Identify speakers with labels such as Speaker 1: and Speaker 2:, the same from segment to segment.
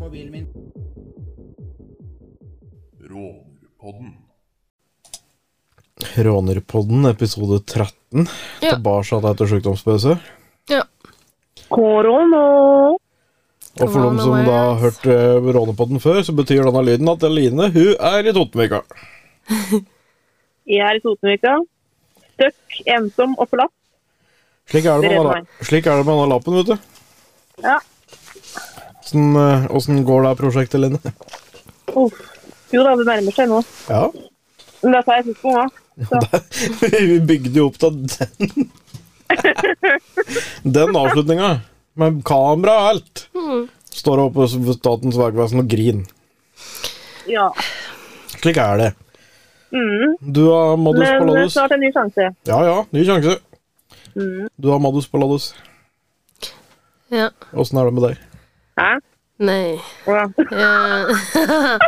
Speaker 1: mobilen min.
Speaker 2: Rånerpodden.
Speaker 3: Rånerpodden, episode 13.
Speaker 4: Ja.
Speaker 3: Tilbake etter sykdomspause.
Speaker 5: Korona.
Speaker 3: Og for dem som da har hørt eh, Rånerpodden før, så betyr denne lyden at Eline hun er i Totenvika.
Speaker 5: Jeg er i Totenvika. Støkk, ensom og forlatt.
Speaker 3: Slik er det med
Speaker 5: Det er
Speaker 3: denne,
Speaker 5: meg.
Speaker 3: slik er det med denne lappen, vet du.
Speaker 5: Ja.
Speaker 3: Åssen går det prosjektet, Eline?
Speaker 5: Uff. Jo da, det nærmer seg nå.
Speaker 3: Ja,
Speaker 5: Men dette er siste gang.
Speaker 3: vi bygde jo opp til den Den avslutninga. Med kamera og alt. Står oppe hos Statens vegvesen og griner.
Speaker 5: Ja.
Speaker 3: Slik er det.
Speaker 5: Mm.
Speaker 3: Du har Modus
Speaker 5: Men eh,
Speaker 3: Palladus.
Speaker 5: snart en ny sjanse.
Speaker 3: Ja ja, ny sjanse.
Speaker 5: Mm.
Speaker 3: Du har Modus Palladus.
Speaker 4: Ja.
Speaker 3: Åssen er det med deg?
Speaker 5: Hæ?
Speaker 4: Nei.
Speaker 5: Ja.
Speaker 4: Eh,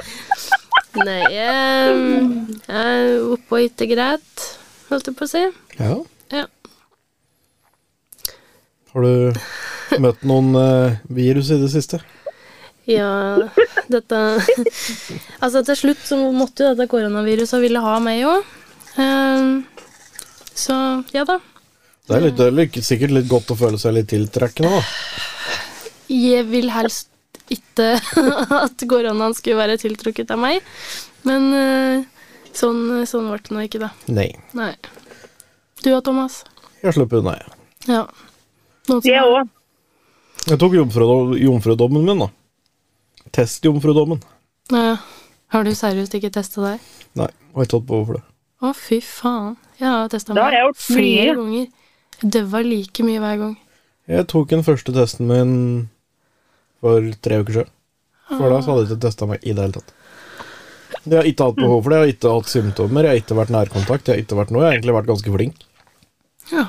Speaker 4: Nei, em, jeg er oppe og ikke greit, holdt jeg på å si.
Speaker 3: Ja.
Speaker 4: Ja.
Speaker 3: Har du møtt noen eh, virus i det siste?
Speaker 4: Ja, dette Altså, til slutt så måtte jo dette koronaviruset ville ha meg òg. så ja da.
Speaker 3: Det er, litt, det er litt, sikkert litt godt å føle seg litt tiltrekkende, da.
Speaker 4: Jeg vil helst ikke at koronaen skulle være tiltrukket av meg. Men eh, sånn, sånn ble det nå ikke, da.
Speaker 3: Nei.
Speaker 4: Nei. Du og Thomas?
Speaker 3: Jeg slipper unna, jeg.
Speaker 4: Ja. Noen som-
Speaker 5: Det òg.
Speaker 3: Jeg tok jomfrudo- jomfrudommen min, da. Testjomfrudommen.
Speaker 4: Ja. Har du seriøst ikke testa deg?
Speaker 3: Nei, har ikke tatt behov for det.
Speaker 4: Å, fy faen. Jeg har testa
Speaker 5: Da har
Speaker 4: meg
Speaker 5: jeg gjort
Speaker 4: flere
Speaker 5: mye.
Speaker 4: ganger. Jeg døva like mye hver gang.
Speaker 3: Jeg tok den første testen min for tre uker siden. For da så hadde jeg ikke testa meg i det hele tatt. Jeg har ikke hatt behov for det, jeg har ikke hatt symptomer, jeg har ikke vært nærkontakt, jeg har ikke vært noe. Jeg har egentlig vært ganske flink.
Speaker 4: Ja.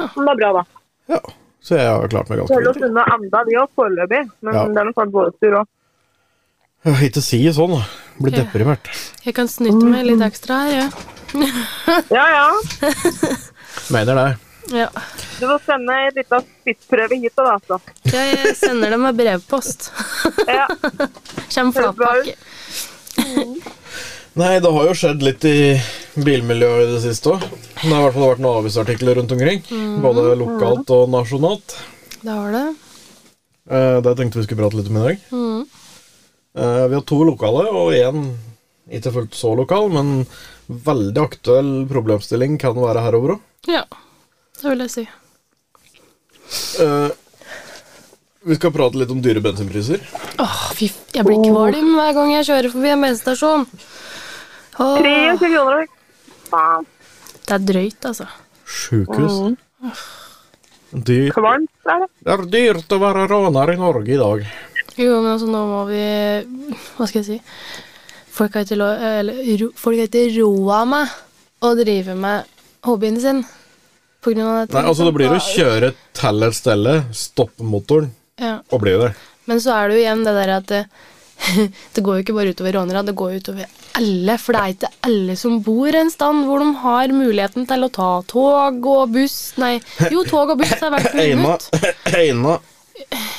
Speaker 5: Den var bra, da.
Speaker 3: Ja, Så jeg har klart meg ganske
Speaker 5: Følg oss
Speaker 3: fint.
Speaker 5: unna enda, vi òg, foreløpig. Men
Speaker 3: Ja.
Speaker 5: det er noe snart vår tur òg.
Speaker 3: Ja, Ikke si det sånn, da. Blir
Speaker 4: Ja.
Speaker 3: deprimert.
Speaker 4: Jeg kan snyte meg litt
Speaker 5: Mm.
Speaker 4: ekstra her, jeg.
Speaker 5: Ja, ja.
Speaker 3: Mener det.
Speaker 4: Ja. ja.
Speaker 5: Du får sende en liten spyttprøve hit og da, altså.
Speaker 4: Ja, jeg sender det med brevpost.
Speaker 5: Ja.
Speaker 4: Kjem flatpakke.
Speaker 3: Nei, det har jo skjedd litt i bilmiljøet i det siste òg. Det har i hvert fall vært noen avisartikler rundt omkring. Både lokalt og nasjonalt.
Speaker 4: Det har det.
Speaker 3: Eh, Det tenkte vi skulle prate litt om i dag. Eh, Vi har to lokale, og én ikke fullt så lokal, men veldig aktuell problemstilling kan være herover òg.
Speaker 4: Ja, det vil jeg si.
Speaker 3: Eh, Vi skal prate litt om dyre bensinpriser.
Speaker 4: Åh, fy f... Jeg blir kvalm hver gang jeg kjører forbi en bensinstasjon. Åh,
Speaker 5: 23 kroner. Faen.
Speaker 4: det er drøyt, altså.
Speaker 3: Sjukehus. Dyr.
Speaker 5: Kvalmt er det.
Speaker 3: Det er dyrt å være raner i Norge i dag.
Speaker 4: Jo, men altså, nå må vi Hva skal jeg si? Folk har ikke lov eh, Eller ro, folk har ikke råd av meg å drive med hobbyen sin på grunn av dette.
Speaker 3: Nei, altså Det blir å kjøre til et sted, stoppe motoren
Speaker 4: Ja.
Speaker 3: og bli der.
Speaker 4: Men så er det jo igjen det der at det, det går jo ikke bare utover rånere, det går jo utover alle. For det er ikke alle som bor en stand hvor de har muligheten til å ta tog og buss. Nei, jo, tog og buss er hvert
Speaker 3: Eina,
Speaker 4: minutt.
Speaker 3: Eina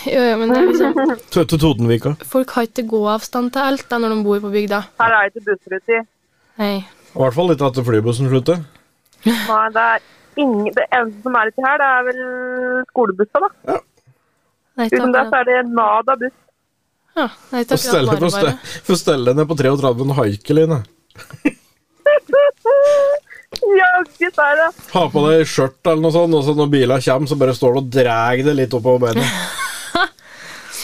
Speaker 4: Jo, jo, men det er liksom,
Speaker 3: Tøtte Totenvika.
Speaker 4: folk har ikke gåavstand til alt da når de bor på bygda.
Speaker 5: Her er det ikke bussruter.
Speaker 4: Nei.
Speaker 3: I hvert fall litt etter flybussen slutter.
Speaker 5: Nei, det er ingen, det eneste som er ute her, det er vel skolebussa, da.
Speaker 4: Nei, takk,
Speaker 5: Uten det så er det nada buss.
Speaker 4: ja, nei,
Speaker 3: For
Speaker 4: takk,
Speaker 3: stelle,
Speaker 4: bare,
Speaker 3: for
Speaker 4: bare.
Speaker 3: stelle, for stelle ned på 33 en haikeline.
Speaker 5: Jaggu sa jeg det.
Speaker 3: Ha på deg skjørt eller noe sånt, og så når bila kommer, så bare står du og drar det litt oppover beina.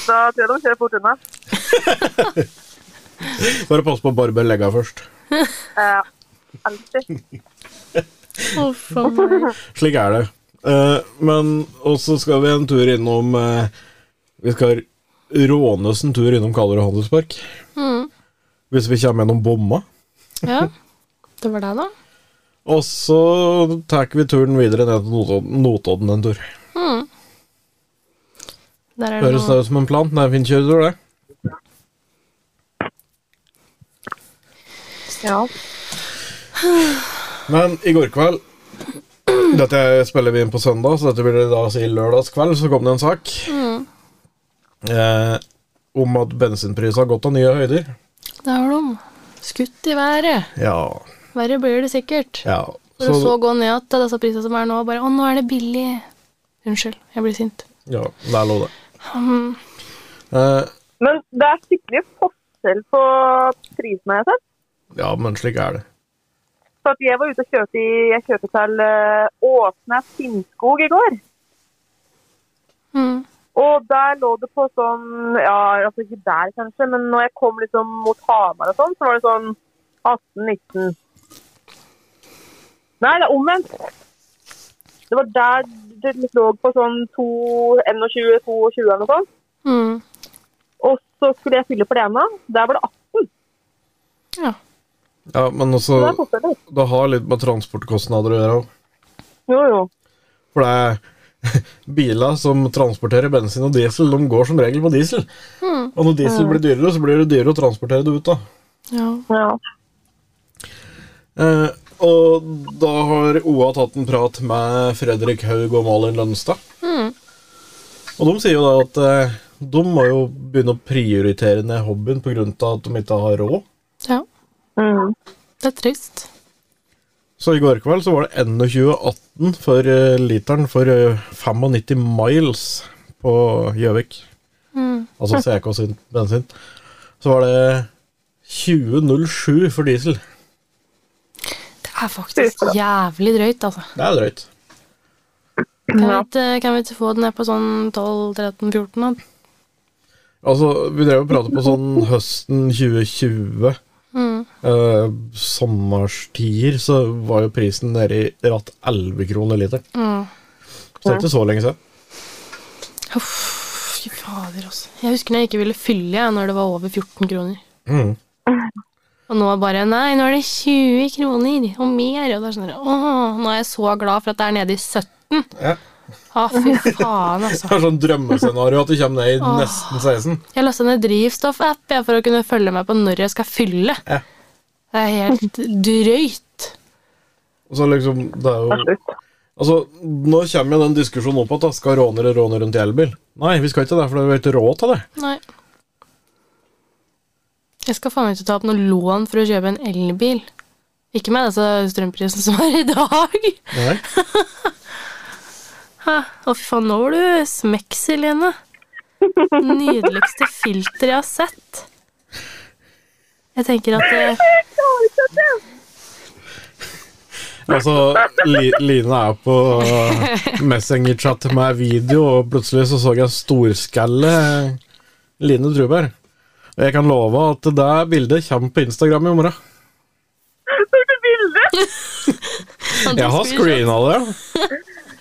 Speaker 5: Da tror jeg de kjører fort unna.
Speaker 3: Bare pass på å barber legga først.
Speaker 5: Eh, Alltid.
Speaker 4: Å, faen meg.
Speaker 3: Slik er det. Eh, men også skal vi en tur innom eh, Vi skal rånes en tur innom Kalderud handelspark.
Speaker 4: Mm.
Speaker 3: Hvis vi kommer gjennom bomma.
Speaker 4: Ja, det var det, da.
Speaker 3: Og så tar vi turen videre ned til Notodden, Notodden en tur.
Speaker 4: Der er det
Speaker 3: Høres det
Speaker 4: noe.
Speaker 3: ut som en plan? Det er en fin kjøretur, det.
Speaker 5: Ja.
Speaker 3: Men i går kveld altså Dette spiller vi inn på søndag, så dette blir det da si lørdagskveld, så kom det en sak. eh, om at bensinprisen har gått av nye høyder.
Speaker 4: Det har de. Skutt i været.
Speaker 3: Ja,
Speaker 4: Verre blir det sikkert.
Speaker 3: ja.
Speaker 4: For å så gå ned igjen til disse prisene som er nå, og bare 'Å, nå er det billig'. Unnskyld, jeg blir sint.
Speaker 3: Ja, der lå det. Eh,
Speaker 5: Men det er skikkelig forskjell på prisene jeg har sett.
Speaker 3: ja, men slik er det.
Speaker 5: For at jeg var ute og kjørte, i, jeg kjørte til eh, Åsnes Finnskog i går.
Speaker 4: Mm.
Speaker 5: Og der lå det på sånn Ja, altså ikke der kanskje, men når jeg kom liksom mot Hamar og sånn, så var det sånn 18-19. Nei, det er omvendt. Det var der det lå på sånn 21-22 eller noe sånt.
Speaker 4: Mm.
Speaker 5: Og så skulle jeg fylle på det ene. Der var det 18.
Speaker 4: Ja.
Speaker 3: Ja, men
Speaker 5: Så det er
Speaker 3: også,
Speaker 5: forskjeller.
Speaker 3: det har litt med transportkostnader å gjøre òg.
Speaker 5: Jo, jo.
Speaker 3: For det er biler som transporterer bensin og diesel, de går som regel på diesel. Og når diesel blir dyrere, så blir det dyrere å transportere det ut. da.
Speaker 4: ja.
Speaker 5: Ja.
Speaker 3: Eh, og da har OA tatt en prat med Fredrik Haug og Malin Lønstad. Og de sier jo da at eh, de må jo begynne å prioritere ned hobbyen pga. at de ikke har råd.
Speaker 4: Ja.
Speaker 5: Mm.
Speaker 4: Det er trist.
Speaker 3: Så i går kveld så var det 21,18 for eh, literen for eh, 95 miles på Gjøvik. Altså CK sin bensin. Så var det 20,07 for diesel.
Speaker 4: Det er faktisk jævlig drøyt, altså.
Speaker 3: Det er drøyt.
Speaker 4: Kan, vi
Speaker 5: Ja.
Speaker 4: ikke, kan vi ikke få den ned på sånn 12-13-14? da?
Speaker 3: Altså, vi drev og pratet på sånn høsten 2020.
Speaker 4: Mm.
Speaker 3: Eh, sommerstider så var jo prisen nede i ratt 11 kroner literen.
Speaker 4: Mm.
Speaker 3: Så det er ikke så lenge siden.
Speaker 4: Uff, fy fader, altså. Jeg husker når jeg ikke ville fylle jeg, når det var over 14 kroner.
Speaker 3: Mm.
Speaker 4: Og nå bare Nei, nå er det 20 kroner og mer. Og da skjønner jeg Åh, nå er jeg så glad for at det er nede i 17.
Speaker 3: Ja.
Speaker 4: Å, fy faen, altså.
Speaker 3: Det er sånn drømmescenario at det kommer ned i nesten 16.
Speaker 4: Jeg lasta ned drivstoffapp jeg, for å kunne følge med på når jeg skal fylle.
Speaker 3: Ja.
Speaker 4: Det er helt drøyt.
Speaker 3: Og så liksom, det er
Speaker 5: Det er
Speaker 3: jo
Speaker 5: slutt.
Speaker 3: Altså, Nå kommer jo den diskusjonen opp at da skal rånere råne rundt i elbil. Nei, vi skal ikke det, for vi har ikke råd til det.
Speaker 4: Nei. Jeg skal faen meg ikke ta opp noe lån for å kjøpe en elbil. Ikke med disse strømprisene som er i dag.
Speaker 3: Nei.
Speaker 4: Hæ? Å, fy faen, nå var du smeksel, Line. Nydeligste filter jeg har sett. Jeg tenker at eh,
Speaker 3: Altså, Li Line er på eh, Messenger-chat med video, og plutselig så så jeg storskalle Line Truberg. Og jeg kan love at det bildet kommer på Instagram i morgen.
Speaker 5: Så er det bildet!
Speaker 3: Jeg har screena det.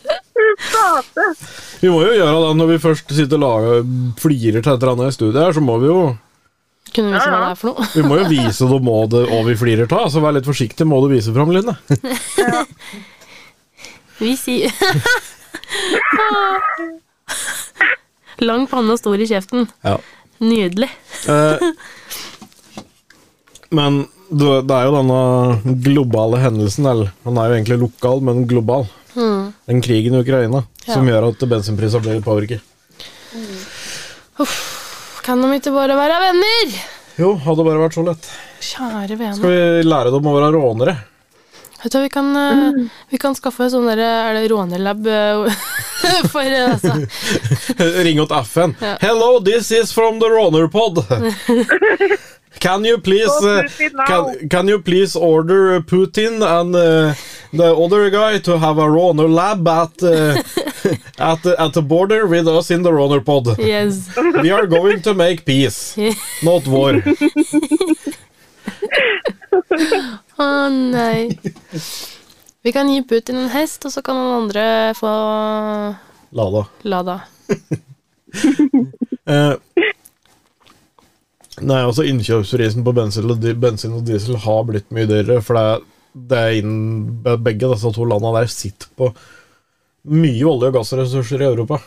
Speaker 5: Fy flate!
Speaker 3: Vi må jo gjøre det når vi først sitter og lager flirer til et eller annet i studiet her, så må vi jo
Speaker 4: Kunne vise hva
Speaker 5: Ja,
Speaker 4: det
Speaker 5: ja.
Speaker 4: er for noe.
Speaker 3: Vi må jo vise dem hva det og vi flirer av, så vær litt forsiktig med hva du viser fram, Line.
Speaker 4: Vi sier Lang panne og stor i kjeften.
Speaker 3: Ja.
Speaker 4: Nydelig.
Speaker 3: Eh, men det, det er jo denne globale hendelsen, eller den er jo egentlig lokal, men global. Den krigen i Ukraina som gjør at bensinpriser blir påvirket.
Speaker 4: Kan de ikke bare være venner?
Speaker 3: Jo, hadde bare vært så lett.
Speaker 4: Kjære vene.
Speaker 3: Skal vi lære dem å være rånere?
Speaker 4: Vet du, hva, vi kan, eh, vi kan skaffe en sånn der, Er det rånelab eh, for eh, altså.
Speaker 3: Ring åt FN. Hello, this is from the Roner pod. Can you please
Speaker 5: Go
Speaker 3: uh,
Speaker 5: Putin now.
Speaker 3: can, can you please order uh, Putin and uh, the other guy to have a Roner lab at uh, at the, at the border with us in the Roner pod?
Speaker 4: Yes.
Speaker 3: We are going to make peace, not war.
Speaker 4: Å nei. Vi kan gi Putin en hest, og så kan noen andre få
Speaker 3: Lada.
Speaker 4: Lada.
Speaker 3: Eh, nei, altså innkjøpsprisen på bensin og, di bensin og diesel har blitt mye dyrere, for det er, det er innen be- begge disse to landene der sitter på mye olje- og gassressurser i Europa.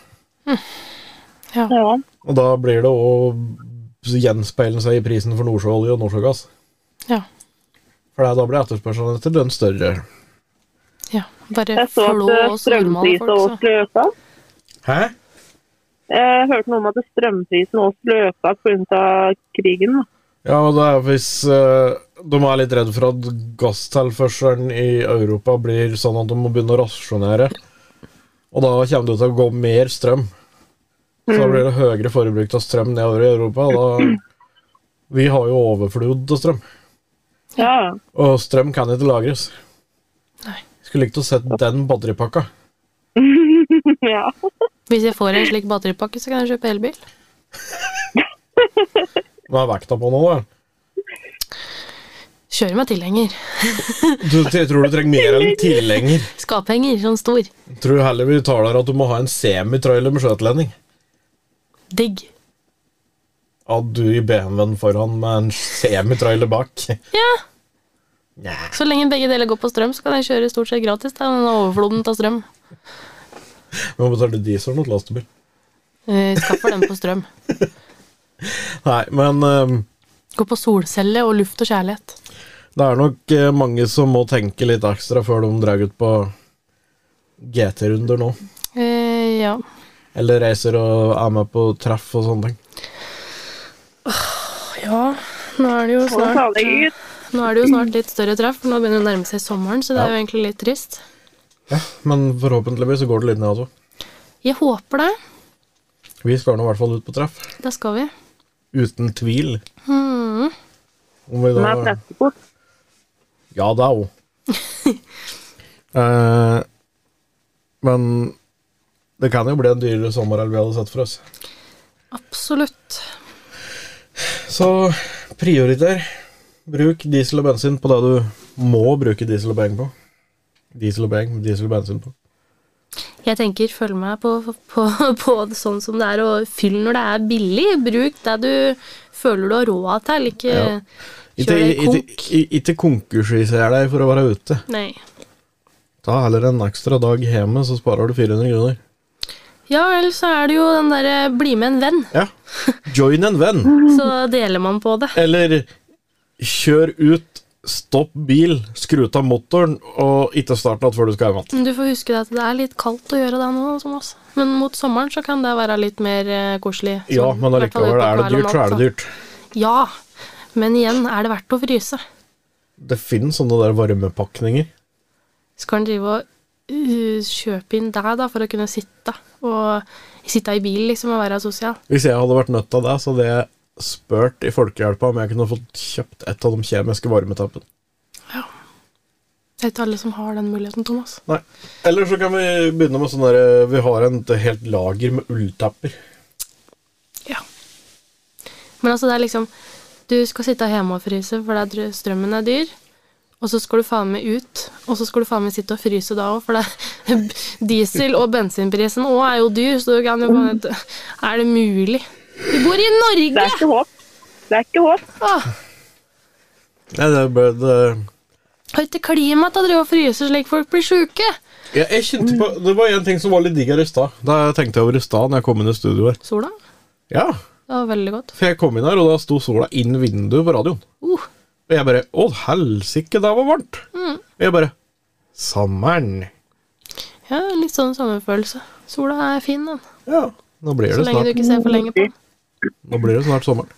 Speaker 5: Ja.
Speaker 3: Og da blir det òg gjenspeilende seg i prisen for nordsjøolje og nordsjøgass.
Speaker 4: Ja.
Speaker 3: For det- da blir etterspørselen etter den større.
Speaker 4: ja. Bare
Speaker 5: Jeg så
Speaker 4: flå
Speaker 5: at eh,
Speaker 4: oss normale
Speaker 5: strømprisen
Speaker 4: folk,
Speaker 5: og
Speaker 4: så.
Speaker 5: sløsa.
Speaker 3: Hæ?
Speaker 5: Jeg hørte noe om at strømprisen også løka pga. krigen. da.
Speaker 3: Ja, men det er hvis eh, de er litt redd for at gasstilførselen i Europa blir sånn at de må begynne å rasjonere. Og da kommer det til å gå mer strøm. Så da blir det høyere forbruk av strøm nedover i Europa. og Da, vi har jo overflod av strøm,
Speaker 5: Ja, ja.
Speaker 3: og strøm kan ikke lagres.
Speaker 4: Nei.
Speaker 3: Skulle likt å sett den batteripakka.
Speaker 5: ja.
Speaker 4: Hvis jeg får en slik batteripakke, så kan jeg kjøpe elbil.
Speaker 3: Hva er vekta på nå, da?
Speaker 4: Kjøre med tilhenger.
Speaker 3: Du t- tror du trenger mer enn tilhenger?
Speaker 4: Skaphenger, sånn stor.
Speaker 3: Tror heller vi tar der at du må ha en semitrailer med skjøtelending.
Speaker 4: Digg.
Speaker 3: At du i BMW-en foran med en semitrailer bak.
Speaker 4: Ja,
Speaker 3: Nei.
Speaker 4: så lenge begge deler går på strøm, så kan jeg kjøre stort sett gratis. Da, den overfloden av strøm.
Speaker 3: Vi må betale diesel mot lastebil.
Speaker 4: Eh, Skaffer den på strøm.
Speaker 3: Nei, men ehm,
Speaker 4: Gå på solcelle og luft og kjærlighet.
Speaker 3: det er nok eh, mange som må tenke litt ekstra før de drar ut på GT-runder nå.
Speaker 4: Eh, ja.
Speaker 3: Eller reiser og er med på treff og sånne ting.
Speaker 4: ja. Nå er det jo
Speaker 5: Må
Speaker 4: snart
Speaker 5: ta deg ut.
Speaker 4: Nå er det jo snart litt større treff, for nå begynner det å nærme seg sommeren, så det er jo egentlig litt trist.
Speaker 3: Men forhåpentligvis så går det litt ned også.
Speaker 4: Jeg håper det.
Speaker 3: Vi skal nå i hvert fall ut på treff.
Speaker 4: Det skal vi.
Speaker 3: Uten tvil. Om vi
Speaker 5: Den er
Speaker 3: da
Speaker 5: presseport.
Speaker 3: Ja, det er hun. eh, men det kan jo bli en dyrere sommer enn vi hadde sett for oss.
Speaker 4: Absolutt.
Speaker 3: Så prioriter. Bruk diesel og bensin på det du må bruke diesel og beng på. Diesel og beng, diesel og bensin på.
Speaker 4: Jeg tenker følg med på, på, på det sånn som det er, og fyll når det er billig. Bruk det du føler du har råd til, ikke
Speaker 3: Ja. Ikke,
Speaker 4: kjør deg
Speaker 3: ikke,
Speaker 4: konk.
Speaker 3: ikke, ikke konkursiser deg for å være ute.
Speaker 4: Nei.
Speaker 3: Ta heller en ekstra dag hjemme, så sparer du 400 kroner.
Speaker 4: Ja, eller så er det jo den derre bli med en venn,
Speaker 3: Ja. Join en venn.
Speaker 4: så deler man på det.
Speaker 3: Eller kjør ut, stopp bil, skru ut av motoren, og ikke start natt før du skal hjem igjen.
Speaker 4: Men Du får huske at det er litt kaldt å gjøre det nå, som oss. men mot sommeren så kan det være litt mer eh, koselig.
Speaker 3: Ja,
Speaker 4: Sånn,
Speaker 3: men
Speaker 4: i hvert fall
Speaker 3: allikevel,
Speaker 4: ut på
Speaker 3: er det
Speaker 4: kveld og
Speaker 3: dyrt, så
Speaker 4: natt,
Speaker 3: er det dyrt.
Speaker 4: Ja, men igjen, er det verdt å fryse?
Speaker 3: Det finnes sånne der varmepakninger.
Speaker 4: Skal en drive og uh, kjøpe inn deg da, for å kunne sitte og sitte i bil liksom, og være sosial?
Speaker 3: Hvis jeg hadde vært nødt av det, så hadde jeg spurt i Folkehjelpa om jeg kunne fått kjøpt et av de kjemiske varmetappene.
Speaker 4: Det er ikke alle som har den muligheten, Thomas.
Speaker 3: Nei. Eller så kan vi begynne med sånn derre Vi har en- et helt lager med ulltapper.
Speaker 4: Ja. Men altså, det er liksom Du skal sitte hjemme og fryse, for det er dr- strømmen er dyr. Og så skal du faen meg ut, og så skal du faen meg sitte og fryse da òg, for det er diesel- og bensinprisen òg er jo dyr, så du kan
Speaker 5: Oh.
Speaker 4: jo faen ikke Er det mulig? Vi bor i
Speaker 5: Det
Speaker 4: Norge!
Speaker 5: er ikke håp. Det er ikke håp.
Speaker 4: Åh,
Speaker 3: Nei, det, ble- det
Speaker 4: har ikke klima til å drive og fryse slik folk blir sjuke?
Speaker 3: jeg, jeg kjente på Det var en ting som var litt digg her i stad. Da tenkte jeg over i stad når jeg kom inn i studio her.
Speaker 4: Sola?
Speaker 3: Ja,
Speaker 4: Det var veldig godt.
Speaker 3: for jeg kom inn her, og da sto sola inn vinduet på radioen.
Speaker 4: Uh,
Speaker 3: Og jeg bare Å, helsike, det var varmt! Og jeg bare Sommeren.
Speaker 4: ja, litt sånn sommerfølelse. Sola er fin, den.
Speaker 3: Ja. Nå blir det
Speaker 4: Så lenge du
Speaker 3: snart,
Speaker 4: ikke ser for lenge på den.
Speaker 3: nå blir det snart sommeren.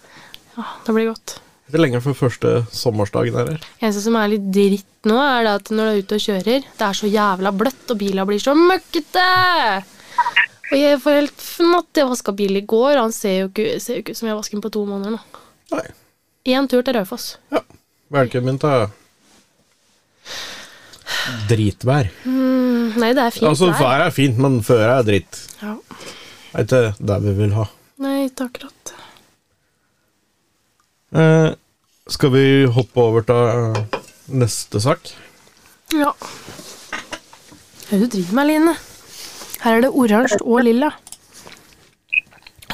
Speaker 4: Ja, det blir godt.
Speaker 3: Ikke lenge før første sommersdagen er her.
Speaker 4: Eneste som er litt dritt nå, er det at når du er ute og kjører, det er så jævla bløtt, og bilen blir så møkkete! Og jeg får helt fnatt. Jeg vaska bil i går, og han ser jo ikke, ser jo ikke ut som jeg har vasket den på to måneder nå.
Speaker 3: Nei.
Speaker 4: Én tur til Raufoss.
Speaker 3: Ja. Velkommen til Dritvær.
Speaker 4: Nei, det er fint
Speaker 3: Altså,
Speaker 4: der.
Speaker 3: været er fint, men føret er dritt.
Speaker 4: Ja.
Speaker 3: Det er ikke det vi vil ha.
Speaker 4: Nei, ikke akkurat.
Speaker 3: Eh, skal vi hoppe over til eh, neste sak?
Speaker 4: Ja. Hva er det du driver med, Line? Her er det oransje og lilla.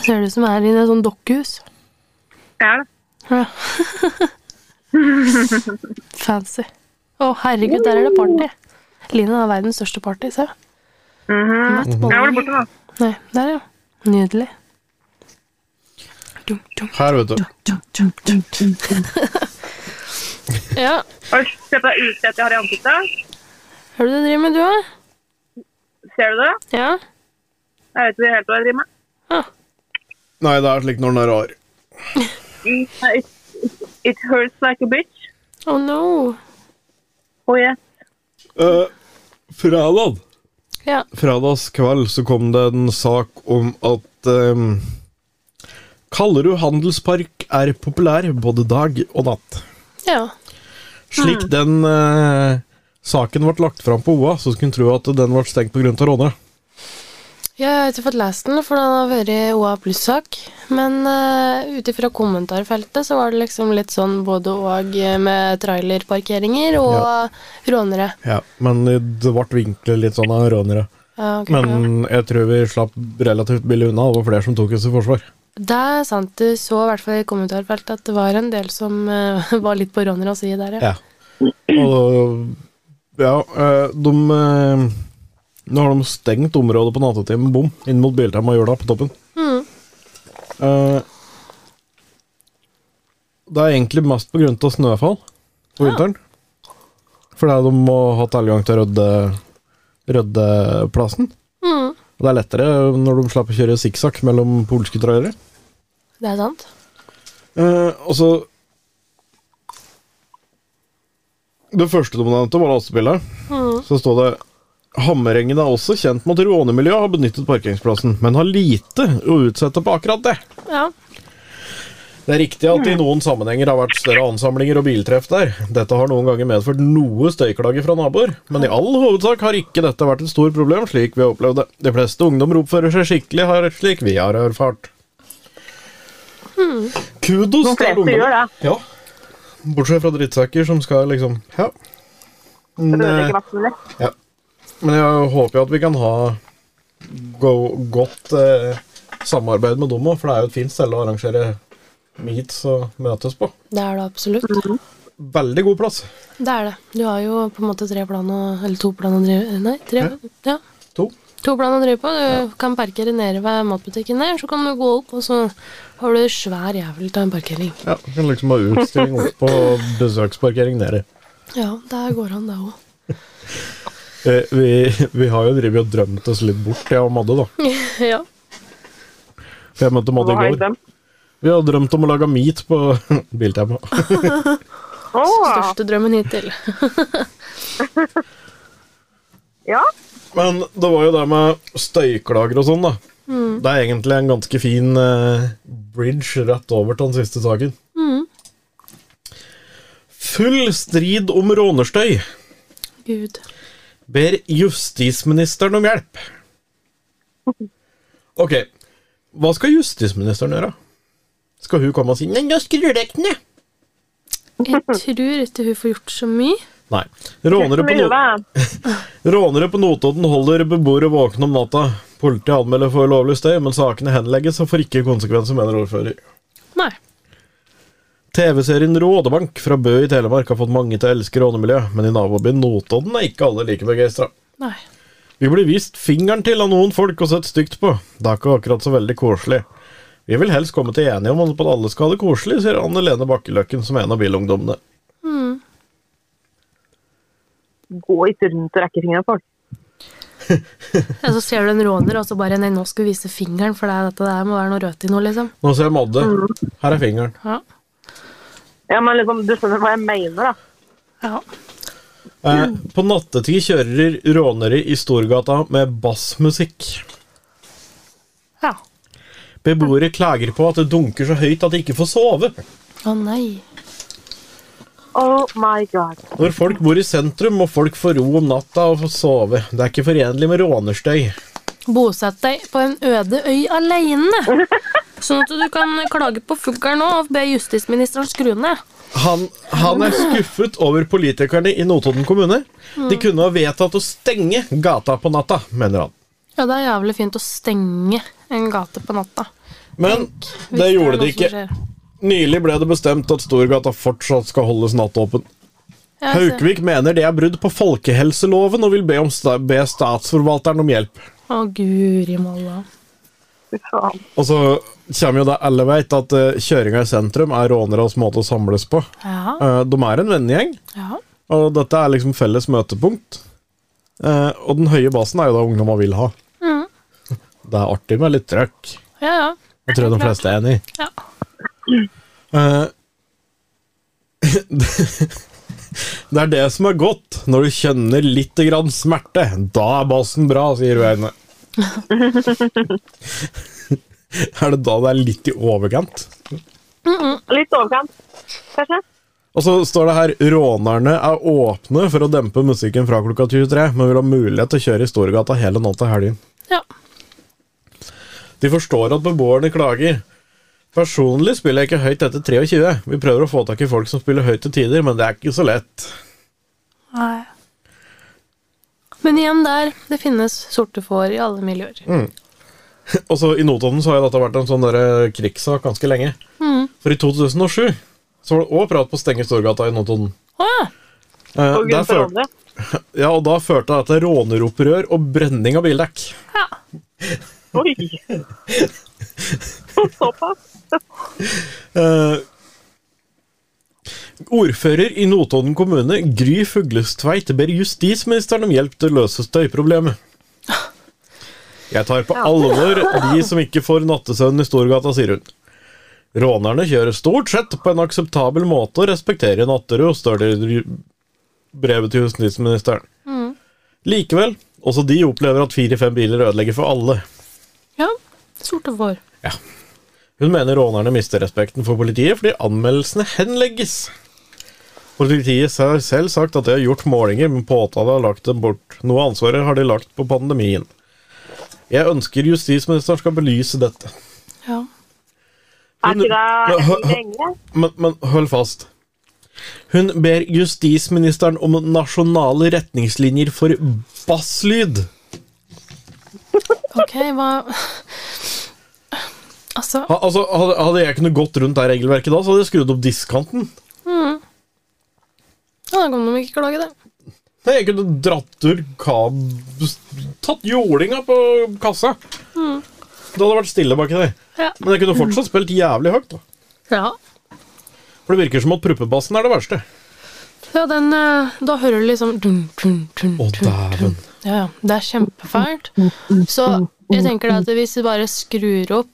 Speaker 4: Ser det ut som jeg er i et sånt dokkehus.
Speaker 5: Det er det.
Speaker 4: Ja. Fancy. Å, herregud, der er det party. Line har verdens største party, se.
Speaker 5: Jeg var borte nå.
Speaker 4: Nei, der, ja. Nydelig. Dum, dum,
Speaker 3: Her, vet du.
Speaker 4: dum, dum, dum, dum. ja.
Speaker 5: Oi, se på det utslettet jeg har i ansiktet.
Speaker 4: Hva er det du driver med, du, da?
Speaker 5: Ser du det?
Speaker 4: Ja.
Speaker 5: Jeg vet ikke helt hva jeg driver med.
Speaker 4: Ah.
Speaker 3: Nei, det er slik når den er rar.
Speaker 5: Yeah, Mm, it, it, it hurts like a bitch.
Speaker 4: Oh no.
Speaker 5: Oh yes.
Speaker 3: Eh, fredag
Speaker 4: Ja.
Speaker 3: Fredagskveld så kom det en sak om at um, Kallerud handelspark er populær både dag og natt.
Speaker 4: ja.
Speaker 3: Slik den eh, saken ble lagt fram på OA, så skulle en tro at den ble stengt pga. rånere.
Speaker 4: Jeg har ikke fått lest den, for den har vært OA pluss-sak. Men uh, ut ifra kommentarfeltet så var det liksom litt sånn både og eh, med trailerparkeringer og rånere.
Speaker 3: Ja, men det ble vinklet litt sånn av rånere.
Speaker 4: Ja, ok, ja.
Speaker 3: Men jeg tror vi slapp relativt billig unna. Det var flere som tok oss i forsvar.
Speaker 4: Det er sant. Du så i hvert fall i kommentarfeltet at det var en del som eh, var litt på rånere å si der, ja.
Speaker 3: Ja. Og da- ja, eh, de eh, Nå har de stengt området på nattetid med bom inn mot Biltema og Jula på toppen.
Speaker 4: Mm.
Speaker 3: Eh, det er egentlig mest på grunn av snøfall på vinteren. Fordi de må ha tilgang til rødde, Røddeplassen.
Speaker 4: Mm,
Speaker 3: Og Det er lettere når de slipper å kjøre sikksakk mellom polske trailere.
Speaker 4: det er sant.
Speaker 3: Eh, altså Det første de nevnte, var lastebiler. Så står det Hammerengen er også kjent med at rånemiljøet har benyttet parkeringsplassen, men har lite å utsette på akkurat det.
Speaker 4: Ja.
Speaker 3: Det er riktig at det i noen sammenhenger har vært større ansamlinger og biltreff der. Dette har noen ganger medført noe støyklager fra naboer, men i all hovedsak har ikke dette vært et stort problem, slik vi har opplevd det. De fleste ungdommer oppfører seg skikkelig her, slik vi har erfart. Kudos
Speaker 5: De fleste gjør det.
Speaker 3: Ja. Bortsett fra drittsekker som skal liksom Ja. Men, eh,
Speaker 5: Ødelegger mest mulig.
Speaker 3: ja. Men jeg håper jo at vi kan ha go godt eh, samarbeid med dem òg, for det er jo et fint sted å arrangere meets og møtes på.
Speaker 4: Det er det absolutt.
Speaker 3: Veldig god plass.
Speaker 4: Det er det. Du har jo på en måte tre plan å Eller to plan å drive Nei, tre. Ja.
Speaker 3: To.
Speaker 4: To plan å drive på. Du kan parkere nede ved matbutikken der, så kan du gå opp, og så har du svær jævel av en parkering.
Speaker 3: Ja, vi kan liksom ha utstilling opp på besøksparkering nede.
Speaker 4: Ja, der går han, det òg.
Speaker 3: Eh, vi, vi har jo drevet og drømt oss litt bort, jeg og Madde, da.
Speaker 4: ja.
Speaker 3: For Jeg møtte Madde
Speaker 5: Hva har
Speaker 3: i
Speaker 5: jeg
Speaker 3: går.
Speaker 5: glemt?
Speaker 3: Vi har drømt om å lage meet på Biltema.
Speaker 5: Åh,
Speaker 4: Største drømmen hittil.
Speaker 5: ja.
Speaker 3: Men det var jo det med støyklager og sånn, da. Det er egentlig en ganske fin eh, bridge rett over til den siste saken. Full strid om rånerstøy.
Speaker 4: Gud.
Speaker 3: Ber justisministeren om hjelp. Ok, hva skal justisministeren gjøre? Skal hun komme og si 'nei, nå skrur jeg den ned'?
Speaker 4: Jeg tror ikke hun får gjort så mye.
Speaker 3: Nei. Rånere på, no
Speaker 5: Mye, da.
Speaker 3: Rånere på Notodden holder beboere våkne om natta. Politiet anmelder for ulovlig støy, men sakene henlegges og får ikke konsekvenser, mener ordfører.
Speaker 4: Nei.
Speaker 3: TV-serien Rådebank fra Bø i Telemark har fått mange til å elske rånemiljøet, men i nabobyen Notodden er ikke alle like begeistra.
Speaker 4: Nei.
Speaker 3: Vi blir vist fingeren til av noen folk og sett stygt på. Det er ikke akkurat så veldig koselig. Vi vil helst komme til enige om at alle skal ha det koselig, sier Anne Lene Bakkeløkken, som er en av bilungdommene.
Speaker 5: Gå ikke rundt og rekke fingeren på folk.
Speaker 4: Ja, så ser du en råner, og så bare Nei, nå skal vi vise fingeren, for det er dette der må være noe rødt i noe, liksom.
Speaker 3: Nå ser jeg Madde. Her er fingeren.
Speaker 4: Ja.
Speaker 5: Ja, men liksom, du skjønner hva jeg mener, da.
Speaker 4: ja.
Speaker 3: Eh, på nattetid kjører rånere i Storgata med bassmusikk.
Speaker 4: Ja.
Speaker 3: Beboere klager på at det dunker så høyt at de ikke får sove.
Speaker 4: Å nei.
Speaker 5: Oh my god.
Speaker 3: Når folk bor i sentrum, må folk få ro om natta og få sove. Det er ikke forenlig med rånerstøy.
Speaker 4: Bosett deg på en øde øy alene. Sånn at du kan klage på fuglen nå og be justisministeren skru ned.
Speaker 3: Han, han er skuffet over politikerne i Notodden kommune.
Speaker 4: Mm.
Speaker 3: De kunne ha vedtatt å stenge gata på natta, mener han.
Speaker 4: Ja, det er jævlig fint å stenge en gate på natta.
Speaker 3: Men
Speaker 4: Hvis
Speaker 3: det
Speaker 4: er
Speaker 3: gjorde
Speaker 4: noe
Speaker 3: de
Speaker 4: som
Speaker 3: ikke.
Speaker 4: skjer.
Speaker 3: Nylig ble det bestemt at Storgata fortsatt skal holdes nattåpen.
Speaker 4: Ja, jeg ser-
Speaker 3: Haukvik mener det er brudd på folkehelseloven og vil be, om sta be statsforvalteren om hjelp.
Speaker 4: Å, guri malla.
Speaker 5: Fy faen.
Speaker 3: Og så kommer jo det alle vet, at eh, kjøringa i sentrum er råneres måte å samles på.
Speaker 4: Ja,
Speaker 3: Eh, De er en vennegjeng,
Speaker 4: ja.
Speaker 3: og dette er liksom felles møtepunkt. Eh, og den høye basen er jo det ungdomma vil ha. Det er artig med litt trøkk.
Speaker 4: Ja, ja.
Speaker 3: Det tror jeg de fleste er enig i.
Speaker 4: Ja.
Speaker 3: Eh, det er det som er godt. Når du kjenner litt grann smerte, da er bassen bra, sier hun ene. er det da det er litt i overkant?
Speaker 5: Litt overkant, kanskje?
Speaker 3: Og så står det her 'Rånerne er åpne for å dempe musikken fra klokka 23', men vil ha mulighet til å kjøre i Storgata hele natt til helgen.
Speaker 4: ja.
Speaker 3: De forstår at beboerne klager. Personlig spiller jeg ikke høyt etter 23. Vi prøver å få tak i folk som spiller høyt til tider, men det er ikke så lett.
Speaker 4: Nei. Men igjen der, det finnes sorte får i alle miljøer.
Speaker 3: Mm. Og så I Notodden så har jo dette vært en sånn derre krigssak ganske lenge.
Speaker 5: Mm.
Speaker 3: For i 2007 så var det òg prat på å stenge Storgata i Notodden.
Speaker 4: Å ja!
Speaker 3: Eh,
Speaker 5: På
Speaker 3: der
Speaker 5: grunn av
Speaker 3: førte-
Speaker 5: hverandre.
Speaker 3: ja, og da førte det til råneropprør og brenning av bildekk.
Speaker 4: ja.
Speaker 5: Oi! Såpass?
Speaker 3: Eh, ordfører i Notodden kommune, Gry Fuglestveit, ber justisministeren om hjelp til å løse støyproblemet. Jeg tar på alvor de som ikke får nattesøvn i Storgata, sier hun. Rånerne kjører stort sett på en akseptabel måte og respekterer natterud, står det i brevet til justisministeren. Likevel, også de opplever at fire-fem biler ødelegger for alle.
Speaker 4: ja. Sorte får.
Speaker 3: Hun mener rånerne mister respekten for politiet fordi anmeldelsene henlegges. Politiet har selv sagt at de har gjort målinger, men påtale har lagt dem bort. Noe av ansvaret har de lagt på pandemien. Jeg ønsker justisministeren skal belyse dette.
Speaker 4: Ja.
Speaker 5: Er ikke det en engel?
Speaker 3: Men, men hold fast. Hun ber justisministeren om nasjonale retningslinjer for basslyd.
Speaker 4: Ok, hva Altså,
Speaker 3: Ha, altså, hadde, hadde jeg kunnet gått rundt det regelverket da, så hadde jeg skrudd opp diskanten.
Speaker 4: ja, da kan de ikke klage det.
Speaker 3: Nei, jeg kunne dratt ur kab... Tatt jålinga på kassa. Det hadde vært stille baki der.
Speaker 4: Ja.
Speaker 3: Men jeg kunne fortsatt spilt jævlig høyt. da.
Speaker 4: ja.
Speaker 3: For det virker som at pruppebassen er det verste.
Speaker 4: Ja, den eh, Da hører du liksom dun, dun, dun,
Speaker 3: Å,
Speaker 4: dun, dun.
Speaker 3: dæven.
Speaker 4: Ja, ja. Det er kjempefælt. Så jeg tenker da at hvis vi bare skrur opp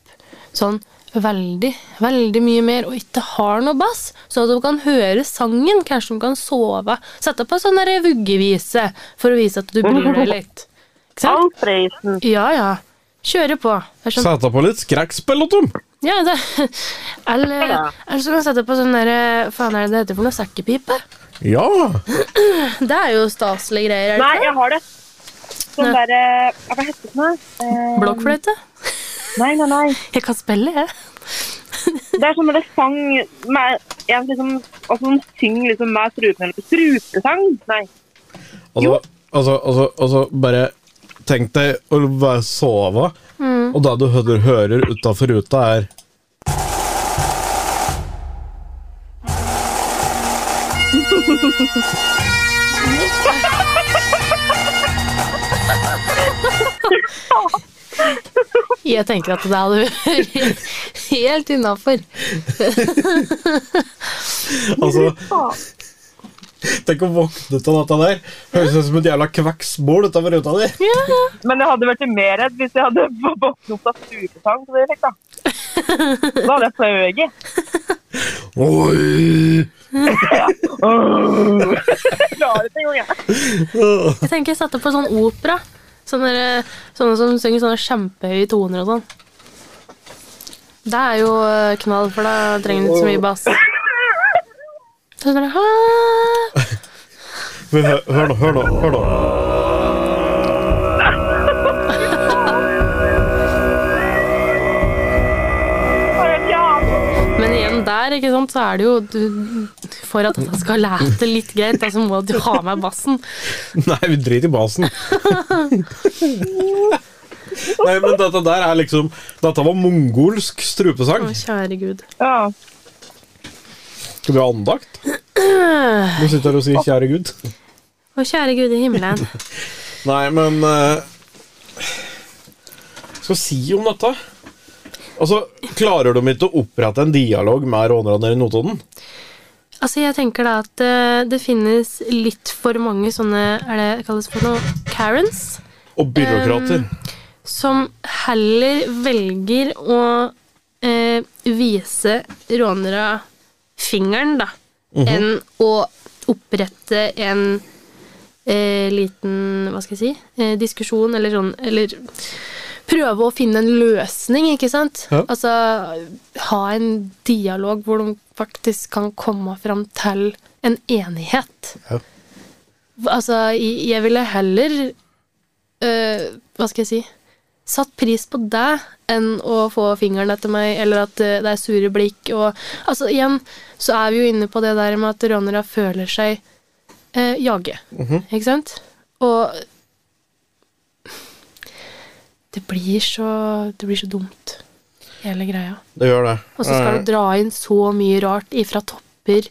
Speaker 4: sånn veldig, veldig mye mer og ikke har noe bass, så at de kan høre sangen, kanskje de kan sove Sette på sånn der vuggevise for å vise at du bryr deg litt. Ikke sant?
Speaker 5: Alfreisen.
Speaker 4: Ja, ja. Kjøre på. Det er sånn
Speaker 3: Seta på litt skrekkspill, Tom.
Speaker 4: ja, det, eller, eller så kan du sette på sånn derre Faen, er det det heter for noe? Sekkepipe?
Speaker 3: Ja.
Speaker 4: Det er jo staselige greier. er det ikke
Speaker 5: Nei,
Speaker 4: det?
Speaker 5: jeg har det. Sånn derre Hva heter det for noe? Eh,
Speaker 4: Blokkfløyte?
Speaker 5: Nei, nei, nei.
Speaker 4: Jeg kan spille, jeg.
Speaker 5: Det er sånn når det sang med en liksom Og sånn synger liksom med strupen eller strupesang. Nei.
Speaker 3: Altså, altså, altså, altså bare Tenk deg å være sova, og det du hører, hører utafor ruta, er
Speaker 4: Jeg tenker at det hadde vært helt innafor.
Speaker 3: Altså,
Speaker 5: Faen.
Speaker 3: tenk å våkne ut av dette der. Høres ut som et jævla kvekkspol utafor ruta di.
Speaker 5: Men jeg hadde vært mer redd hvis jeg hadde våknet opp av strupesang. Så det fikk, da. da hadde jeg fløyet.
Speaker 3: Oi!
Speaker 5: Jeg klarer det ikke engang, jeg.
Speaker 4: Jeg tenker jeg setter på sånn opera. Sånne, der- sånne som synger sånne kjempehøye toner og sånn. Det er jo eh, knall, for da trenger du ikke så mye bass. Sånn der, «Ah».
Speaker 3: Men Hør, hør nå, hør nå. hør nå
Speaker 5: Bare en jævla-
Speaker 4: Men igjen der, ikke sant, så er det jo du, For at dette skal lete litt greit, da, så må du ha med bassen.
Speaker 3: Nei, vi driter i basen. Nei, men dette der er liksom Dette var mongolsk
Speaker 4: Å,
Speaker 3: strupesang.
Speaker 4: kjære gud.
Speaker 5: Ja.
Speaker 3: Skal vi ha andakt? Du sitter her og sier 'kjære Gud'.
Speaker 4: Å, kjære gud i himmelen.
Speaker 3: Nei, men eh, Skal si om dette Altså, Klarer de ikke å opprette en dialog med rånerne nede i Notodden?
Speaker 4: Altså, jeg tenker da at eh, det finnes litt for mange sånne Er det det kalles for noe? Karens? Mm.
Speaker 3: Og byråkrater.
Speaker 4: Som heller velger å eh, vise rånere fingeren, da,
Speaker 3: Mhm.
Speaker 4: enn å opprette en eh, liten Hva skal jeg si? Eh, diskusjon, eller sånn Eller prøve å finne en løsning, ikke sant?
Speaker 3: Ja.
Speaker 4: Altså ha en dialog hvor de faktisk kan komme fram til en enighet.
Speaker 3: Ja.
Speaker 4: Altså, jeg jeg ville heller øh, Hva skal jeg si Satt pris på det enn å få fingeren etter meg, eller at øh, det er sure blikk og Altså, igjen så er vi jo inne på det der med at rånere føler seg øh, jage. Ikke sant? Og det blir så Det blir så dumt, hele greia.
Speaker 3: Det gjør det.
Speaker 4: Og så skal du dra inn så mye rart ifra topper.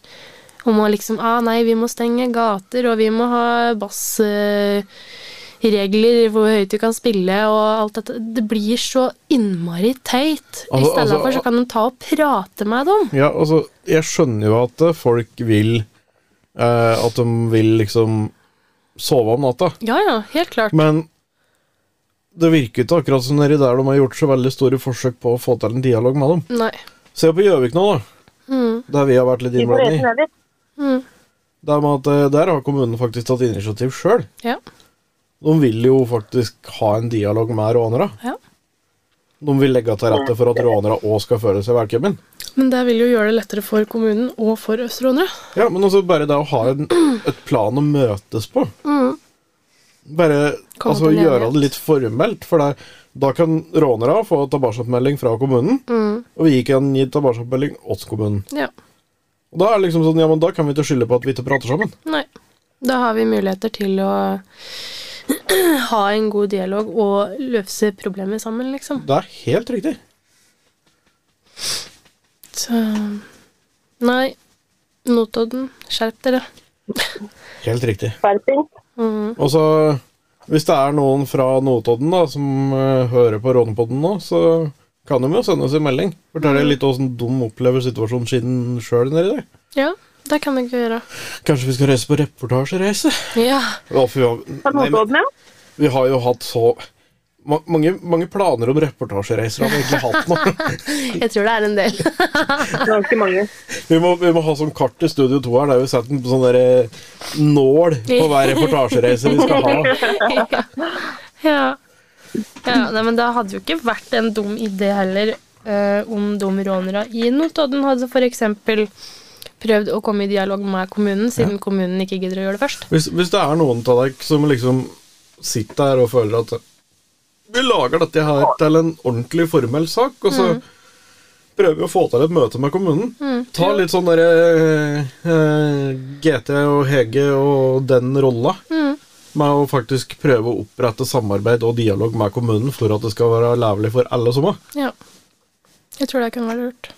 Speaker 4: Om å liksom ah, Nei, vi må stenge gater, og vi må ha bassregler hvor høyt du kan spille, og alt dette. Det blir så innmari teit. I
Speaker 3: Altså-
Speaker 4: stedet
Speaker 3: altså-
Speaker 4: for så kan de ta og prate med dem.
Speaker 3: Ja, altså, jeg skjønner jo at eh, folk vil eh, At de vil liksom sove om natta,
Speaker 4: Ja ja, helt klart.
Speaker 3: men det virker ikke akkurat som nedi der de har gjort så veldig store forsøk på å få til en dialog med dem.
Speaker 4: Nei.
Speaker 3: Se på Gjøvik nå, da.
Speaker 4: Mm.
Speaker 3: Der vi har vært litt
Speaker 5: Vi får
Speaker 3: innblandet
Speaker 5: reise
Speaker 3: i.
Speaker 5: ned dit.
Speaker 4: Mm.
Speaker 3: Det er med at eh, Der har kommunen faktisk tatt initiativ sjøl.
Speaker 4: Ja.
Speaker 3: De vil jo faktisk ha en dialog med rånere.
Speaker 4: Ja.
Speaker 3: De vil legge til rette for at rånere òg skal føle seg velkommen.
Speaker 4: Men det vil jo gjøre det lettere for kommunen og for østerånere.
Speaker 3: Ja, men også bare det å ha en, et plan å møtes på.
Speaker 4: Mm.
Speaker 3: Bare
Speaker 4: Komme
Speaker 3: altså,
Speaker 4: til en
Speaker 3: gjøre
Speaker 4: enighet.
Speaker 3: det litt formelt, for det, da kan rånere få tilbakemelding fra kommunen,
Speaker 4: Mm.
Speaker 3: og vi kan gi tilbakemelding åt kommunen.
Speaker 4: Ja.
Speaker 3: Og Da er det liksom sånn, ja, men da kan vi ikke skylde på at vi ikke prater sammen.
Speaker 4: Nei. Da har vi muligheter til å ha en god dialog og løse problemer sammen, liksom.
Speaker 3: Det er helt riktig.
Speaker 4: Så Nei. Notodden, skjerp dere.
Speaker 3: Helt riktig.
Speaker 5: Skjerping.
Speaker 4: Mm.
Speaker 3: Og så, hvis det er noen fra Notodden da, som eh, hører på Rånepodden nå, så kan de jo sende oss en melding. Fortelle
Speaker 4: Mm.
Speaker 3: litt åssen de opplever situasjonen sin sjøl nedi der.
Speaker 4: Ja, det kan dere gjøre.
Speaker 3: Kanskje vi skal reise på reportasjereise?
Speaker 4: Ja.
Speaker 3: Ja, for vi har,
Speaker 5: Fra
Speaker 3: nei, men,
Speaker 5: Notodden, ja.
Speaker 3: vi har jo hatt så ma mange, mange planer om reportasjereiser har vi egentlig hatt nå.
Speaker 4: Jeg tror det er en del.
Speaker 5: Ganske mange.
Speaker 3: Vi må, vi må ha sånn kart i Studio 2 her, der vi setter en sånn derre nål på hver reportasjereise vi skal ha.
Speaker 4: ja. ja. Nei, men det hadde jo ikke vært en dum idé heller eh, om de rånere i Notodden hadde f.eks. prøvd å komme i dialog med kommunen, siden kommunen ikke gidder å gjøre det først.
Speaker 3: Hvis, hvis det er noen av dere som liksom sitter her og føler at vi lager dette her til en ordentlig formell sak, og så prøver vi å få til et møte med kommunen. Ta litt sånn derre eh, GT og Hege og den rolla. Med å faktisk prøve å opprette samarbeid og dialog med kommunen for at det skal være levelig for alle sammen.
Speaker 4: Ja. Jeg tror det kunne vært lurt.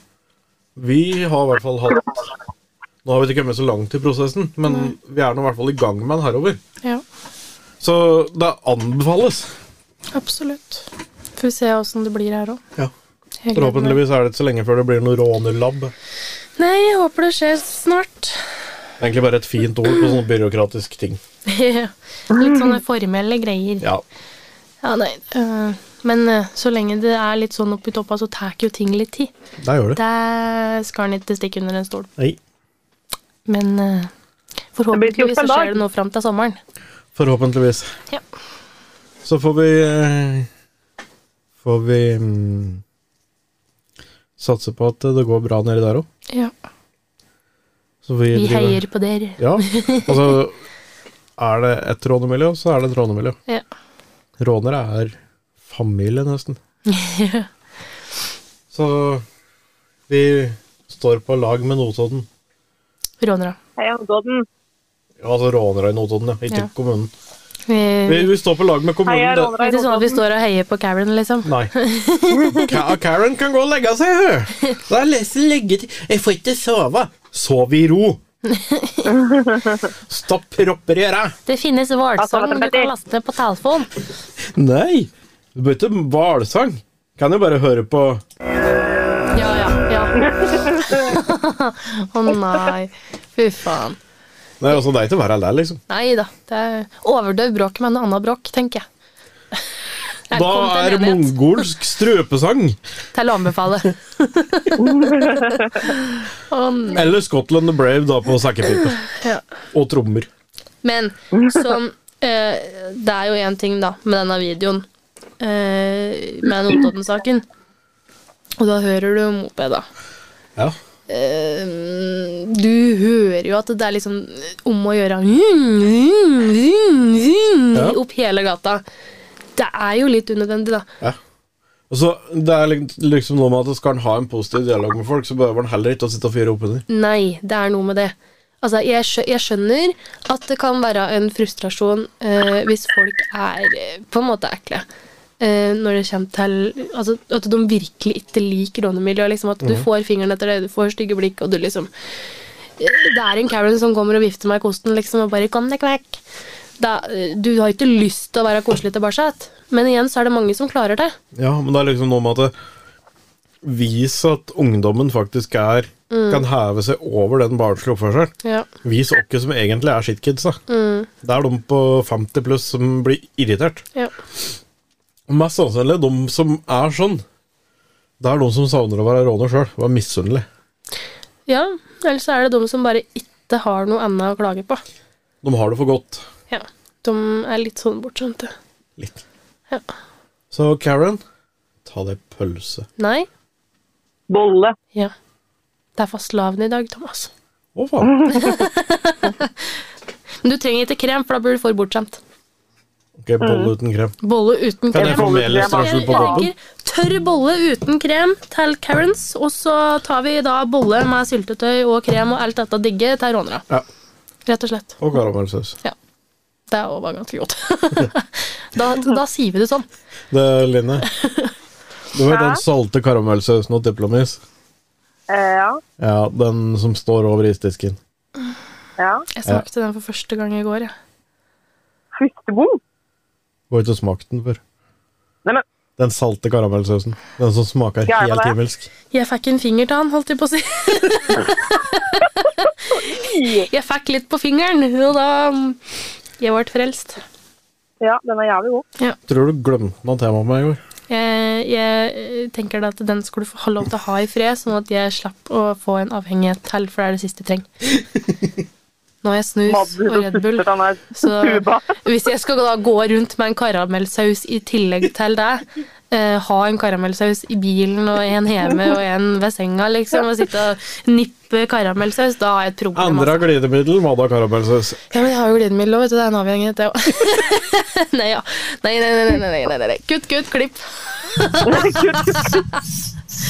Speaker 3: Vi har i hvert fall hatt Nå har vi ikke kommet så langt i prosessen, men vi er nå i hvert fall i gang med den herover.
Speaker 4: Ja,
Speaker 3: Så det anbefales.
Speaker 4: absolutt. Får vi se åssen det blir her òg.
Speaker 3: Ja. Forhåpentligvis er det ikke så lenge før det blir noe rånerlabb.
Speaker 4: Nei, jeg håper det skjer snart.
Speaker 3: Egentlig bare et fint ord på sånne byråkratiske ting.
Speaker 4: litt sånne formelle greier.
Speaker 3: Ja.
Speaker 4: Ja, nei. øh, men øh, så lenge det er litt sånn oppi toppa, så tar jo ting litt tid.
Speaker 3: Der gjør det.
Speaker 4: Det skal en ikke stikke under en stol.
Speaker 3: Nei.
Speaker 4: Men øh, forhåpentligvis så
Speaker 5: 14 dager.
Speaker 4: skjer det noe fram til sommeren.
Speaker 3: Forhåpentligvis.
Speaker 4: Ja.
Speaker 3: Så får vi eh, Får vi mm, satse på at det går bra nedi der òg.
Speaker 4: ja.
Speaker 3: Vi,
Speaker 4: Vi
Speaker 3: driver-
Speaker 4: heier på dere.
Speaker 3: Ja. Altså, er det et rånemiljø, så er det et rånemiljø.
Speaker 4: Ja.
Speaker 3: Rånere er familie, nesten. Så vi står på lag med Notodden.
Speaker 4: Rånere.
Speaker 5: Heia Notodden.
Speaker 3: Ja, altså rånere i Notodden, ja. Ikke
Speaker 4: Ja.
Speaker 3: kommunen. Vi,
Speaker 4: Vi-
Speaker 3: vi står på lag med
Speaker 5: Heia
Speaker 3: kommunen. det-
Speaker 4: Det
Speaker 5: rånere
Speaker 4: er
Speaker 5: i
Speaker 4: ikke sånn at vi
Speaker 5: Notodden.
Speaker 4: står og heier på Karen, liksom.
Speaker 3: Nei. Ka Karen kan gå og legge seg, hun. Da er Lasse legget Jeg får ikke sove. Sov i ro. Stapp propper i øra.
Speaker 4: Det finnes
Speaker 5: Altså,
Speaker 4: hvalsang
Speaker 5: det
Speaker 4: du
Speaker 5: er
Speaker 4: kan
Speaker 5: ferdig.
Speaker 4: laste ned på telefon.
Speaker 3: Nei, du bør ikke hvalsang. Kan jo bare høre på
Speaker 4: Ja, ja, ja. Å nei. Fy faen.
Speaker 3: Nei, altså, det er ikke verre enn det, liksom.
Speaker 4: Nei da. Det er overdøv bråk med noe annet bråk, tenker jeg. Jeg
Speaker 3: Da
Speaker 4: kom til en
Speaker 3: er
Speaker 4: enighet.
Speaker 3: mongolsk strøpesang
Speaker 4: Til å anbefale. Å, nei.
Speaker 3: eller Scotland the Brave da på sekkepipe.
Speaker 4: Ja.
Speaker 3: Og trommer.
Speaker 4: Men sånn eh, Det er jo én ting, da, med denne videoen. eh, med Notodden-saken. Og da hører du mopeda.
Speaker 3: Ja.
Speaker 4: Eh, du hører jo at det er liksom om å gjøre ving, ving, ving, ving,
Speaker 3: Ja.
Speaker 4: opp hele gata. Det er jo litt unødvendig, da.
Speaker 3: Og så Det er lik- liksom noe med at skal en ha en positiv dialog med folk, så behøver en heller ikke å sitte og fyre opp under.
Speaker 4: Nei, det er noe med det. Altså, jeg, skjø jeg skjønner at det kan være en frustrasjon eh, hvis folk er eh, på en måte ekle. Eh, når det kommer til altså, At de virkelig ikke liker rånemiljøet. Liksom, at du får fingeren etter det, du får stygge blikk, og du liksom Det er en Karen som kommer og vifter meg i kosten liksom, og bare 'Kom deg vekk'. Da, eh, du har ikke lyst til å være koselig tilbake, men igjen så er det mange som klarer det.
Speaker 3: Ja, men det er liksom noe med at det Vis at ungdommen faktisk er kan heve seg over den barnslige oppførselen.
Speaker 4: Ja.
Speaker 3: Vis oss som egentlig er shitkidsa. Det er de på 50 pluss som blir irritert.
Speaker 4: ja.
Speaker 3: Mest sannsynlig de som er sånn. Det er de som savner å være råner sjøl. Være misunnelig.
Speaker 4: ja Eller så er det de som bare ikke har noe annet å klage på.
Speaker 3: De har det for godt.
Speaker 4: Ja, de er litt sånn bortskjemte.
Speaker 3: Litt.
Speaker 4: Ja.
Speaker 3: Så Karen, ta deg pølse.
Speaker 4: Nei?
Speaker 5: Bolle.
Speaker 4: Ja. Det er fastelavn i dag, Thomas.
Speaker 3: Å, faen.
Speaker 4: Men du trenger ikke krem, for da blir du for bortskjemt.
Speaker 3: Ok, bolle uten krem.
Speaker 4: Mm. Bolle uten
Speaker 3: Kan jeg
Speaker 4: krem.
Speaker 3: få melisstrassel
Speaker 4: Jeg
Speaker 3: på toppen?
Speaker 4: tenker tørr bolle uten krem til Karens, og så tar vi da bolle med syltetøy og krem og alt dette digge til rånere.
Speaker 3: Ja.
Speaker 4: Rett og slett.
Speaker 3: Og karamellsaus.
Speaker 4: Det er også ganske godt. da, da sier vi det sånn.
Speaker 3: Det, Line. Du vet
Speaker 5: Ja?
Speaker 3: den salte karamellsausen og diplomis?
Speaker 5: Eh, ja.
Speaker 3: Ja, den som står over isdisken.
Speaker 5: ja.
Speaker 4: Jeg smakte den for første gang i går, jeg.
Speaker 5: Frystebom.
Speaker 3: Du har ikke smakt den før.
Speaker 5: Nei, men
Speaker 3: Den salte karamellsausen. Den som smaker
Speaker 5: Gjerne
Speaker 3: helt
Speaker 5: det.
Speaker 3: himmelsk.
Speaker 4: Jeg fikk en finger til han, holdt jeg på å si. jeg fikk litt på fingeren, og da mm, Jeg ble frelst.
Speaker 5: ja, den er jævlig god.
Speaker 3: Tror du glemte noe tema med i går?
Speaker 4: Jeg, jeg eh, tenker da at den skulle du få ha lov til å ha i fred, sånn at jeg slapp å få en avhengighet til, for det er det siste jeg trenger. Nå har jeg snus og Red Bull,
Speaker 5: Den er
Speaker 4: så
Speaker 5: tuba.
Speaker 4: hvis jeg skal da gå rundt med en karamellsaus i tillegg til det, eh, ha en karamellsaus i bilen og en hjemme og en ved senga, liksom, og sitte og nippe karamellsaus, da har jeg et problem. altså.
Speaker 3: Andre glidemiddel, Madda karamellsaus.
Speaker 4: Ja, men jeg har jo glidemiddel òg, vet du. Det er en avhengighet, det òg. nei, ja. Nei, nei, nei, nei, nei, nei, nei, nei. Kutt, kutt, klipp.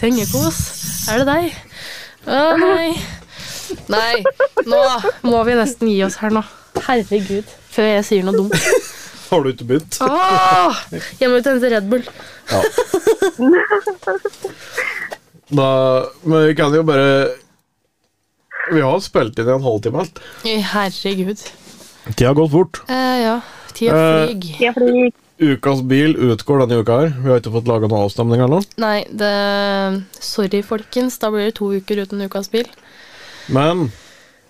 Speaker 4: Sengekos. Er det deg? Å, nei. Nei. Nå må vi nesten gi oss her nå. Herregud. Før jeg sier noe dumt.
Speaker 3: Har du ikke begynt?
Speaker 4: Åh! Jeg må ut og hente Red Bull.
Speaker 3: Da, men vi kan jo bare Vi har spilt inn i en halvtime alt.
Speaker 4: Herregud.
Speaker 3: Tida har gått fort.
Speaker 4: Eh, ja. Tida
Speaker 3: Eh.
Speaker 4: flyg.
Speaker 5: Jeg er flink.
Speaker 3: Ukas bil utgår denne uka her. Vi har ikke fått laga noen avstemning ennå.
Speaker 4: Nei, det Sorry, folkens. Da blir det to uker uten Ukas bil.
Speaker 3: Men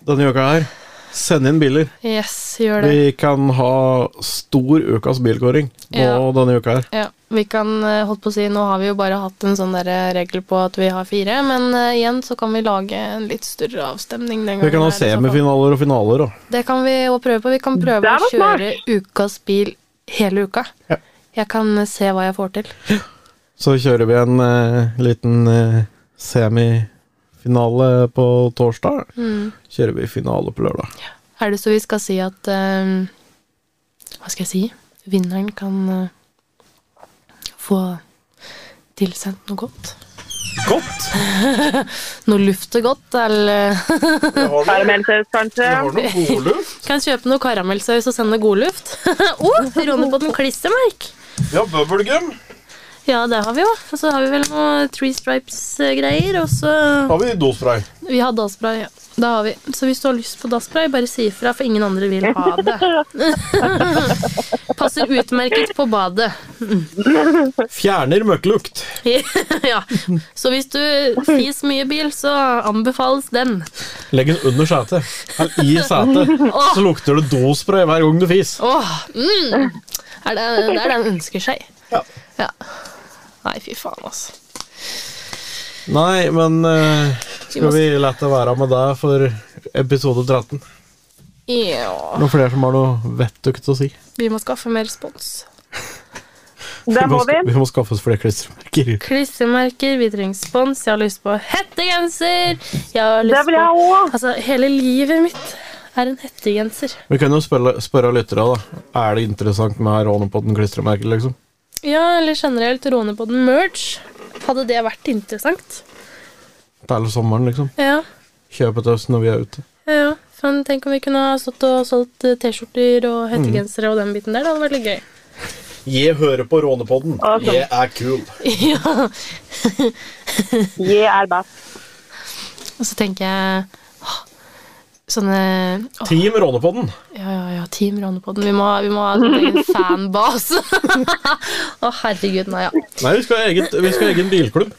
Speaker 3: denne uka her send inn biler.
Speaker 4: Yes, gjør det.
Speaker 3: Vi kan ha stor ukas bilkåring nå
Speaker 4: Ja.
Speaker 3: denne uka her.
Speaker 4: Ja, vi kan eh, holdt på å si, Nå har vi jo bare hatt en sånn der eh, regel på at vi har fire, men eh, igjen så kan vi lage en litt større avstemning. den
Speaker 3: Vi
Speaker 4: gangen
Speaker 3: kan ha
Speaker 4: her, i så fall.
Speaker 3: semifinaler og finaler og
Speaker 4: Det kan vi også prøve på. Vi
Speaker 3: Mm.
Speaker 4: kan
Speaker 5: Det
Speaker 4: prøve
Speaker 5: er
Speaker 4: å
Speaker 5: noe smart.
Speaker 4: kjøre ukas bil hele uka.
Speaker 3: Ja.
Speaker 4: Jeg kan eh, se hva jeg får til.
Speaker 3: Så kjører vi en eh, liten eh, semifinale på torsdag.
Speaker 4: Mm.
Speaker 3: Kjører vi finale på lørdag.
Speaker 4: Er det så vi skal si at eh, Hva skal jeg si? Vinneren kan eh, få tilsendt noe godt.
Speaker 3: Godt!
Speaker 4: Noe luftegodt, eller
Speaker 5: Karamellsaus, kanskje.
Speaker 4: Kan kjøpe noe karamellsaus og sende god luft. Å, Ronny på den klissemerk!
Speaker 3: Ja, bøbelgum.
Speaker 4: Ja, det har vi jo. Og så har vi vel noe Three Stripes-greier. Og så
Speaker 3: Har vi dospray?
Speaker 4: Vi har dasspray. Ja. Det har vi. Så hvis du har lyst på dasspray, bare si ifra, for ingen andre vil ha det. passer utmerket på badet.
Speaker 3: Fjerner møkklukt.
Speaker 4: ja. Så hvis du fis mye i bil, så anbefales den.
Speaker 3: Legg den under setet. Eller i setet. Så lukter det dospray hver gang du fis.
Speaker 4: Åh, mm. er det, det er det han ønsker seg.
Speaker 3: Ja.
Speaker 4: Ja. Nei, fy faen, altså.
Speaker 3: Nei, men eh, skal vi la det være med deg for episode 13?
Speaker 4: Ja.
Speaker 3: Noen flere som har noe vettugt å si?
Speaker 4: Vi må skaffe mer spons.
Speaker 5: Det må vi.
Speaker 3: ska- vi må skaffe oss flere klistremerker.
Speaker 4: Klistremerker, vi trenger spons. Jeg har lyst på hettegenser. Jeg har lyst
Speaker 5: Det vil jeg
Speaker 4: på
Speaker 5: òg.
Speaker 4: Altså, hele livet mitt er en hettegenser.
Speaker 3: Vi kan jo spørre, spørre lyttere, da. Er det interessant med Rånepodden klistremerker, liksom?
Speaker 4: Ja, eller generelt Rone på den merch. Hadde det vært interessant?
Speaker 3: Til sommeren, liksom.
Speaker 4: Ja.
Speaker 3: Kjøp et øst når vi er ute.
Speaker 4: ja, ja. Faen, tenk om vi kunne ha stått og solgt eh, T-skjorter og hettegensere og den biten der. Det hadde vært litt gøy.
Speaker 3: Jeg hører på Rånepodden.
Speaker 5: Awesome. Jeg
Speaker 3: er kul.
Speaker 4: Ja,
Speaker 5: Jeg er best.
Speaker 4: og så tenker jeg åh, Sånne åh,
Speaker 3: Team Rånepodden.
Speaker 4: Ja, ja, ja, Team Ronepodden. Vi må, vi må ha en egen fanbase. Å, herregud, nei, ja.
Speaker 3: Nei, vi skal ha eget- vi skal ha egen bilklubb.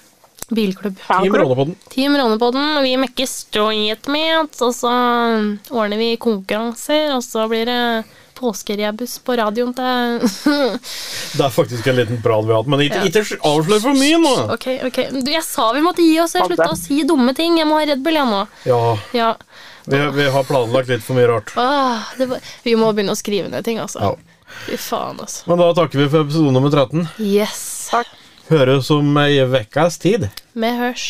Speaker 4: Bilklubb.
Speaker 3: Team Rånepodden.
Speaker 4: Team Ronepodden. Vi mekker straight meat, og så ordner vi konkurranser, og så blir det påskerebus på radioen til
Speaker 3: Det er faktisk en liten prat vi har hatt, men ikke,
Speaker 4: Ja.
Speaker 3: ikke avslør for mye nå.
Speaker 4: Ok, ok. Du, jeg sa vi måtte gi oss. Jeg slutta å si dumme ting. Jeg må ha Red Bull, jeg nå.
Speaker 3: Ja,
Speaker 4: Ja.
Speaker 3: vi, vi har planlagt litt for mye rart.
Speaker 4: Åh, det var, vi må begynne å skrive ned ting, altså.
Speaker 3: Ja.
Speaker 4: Fy faen, altså.
Speaker 3: Men da takker vi for episode nummer 13.
Speaker 4: Yes.
Speaker 5: Takk.
Speaker 3: Høres om ei ukes tid.
Speaker 4: Vi hørs.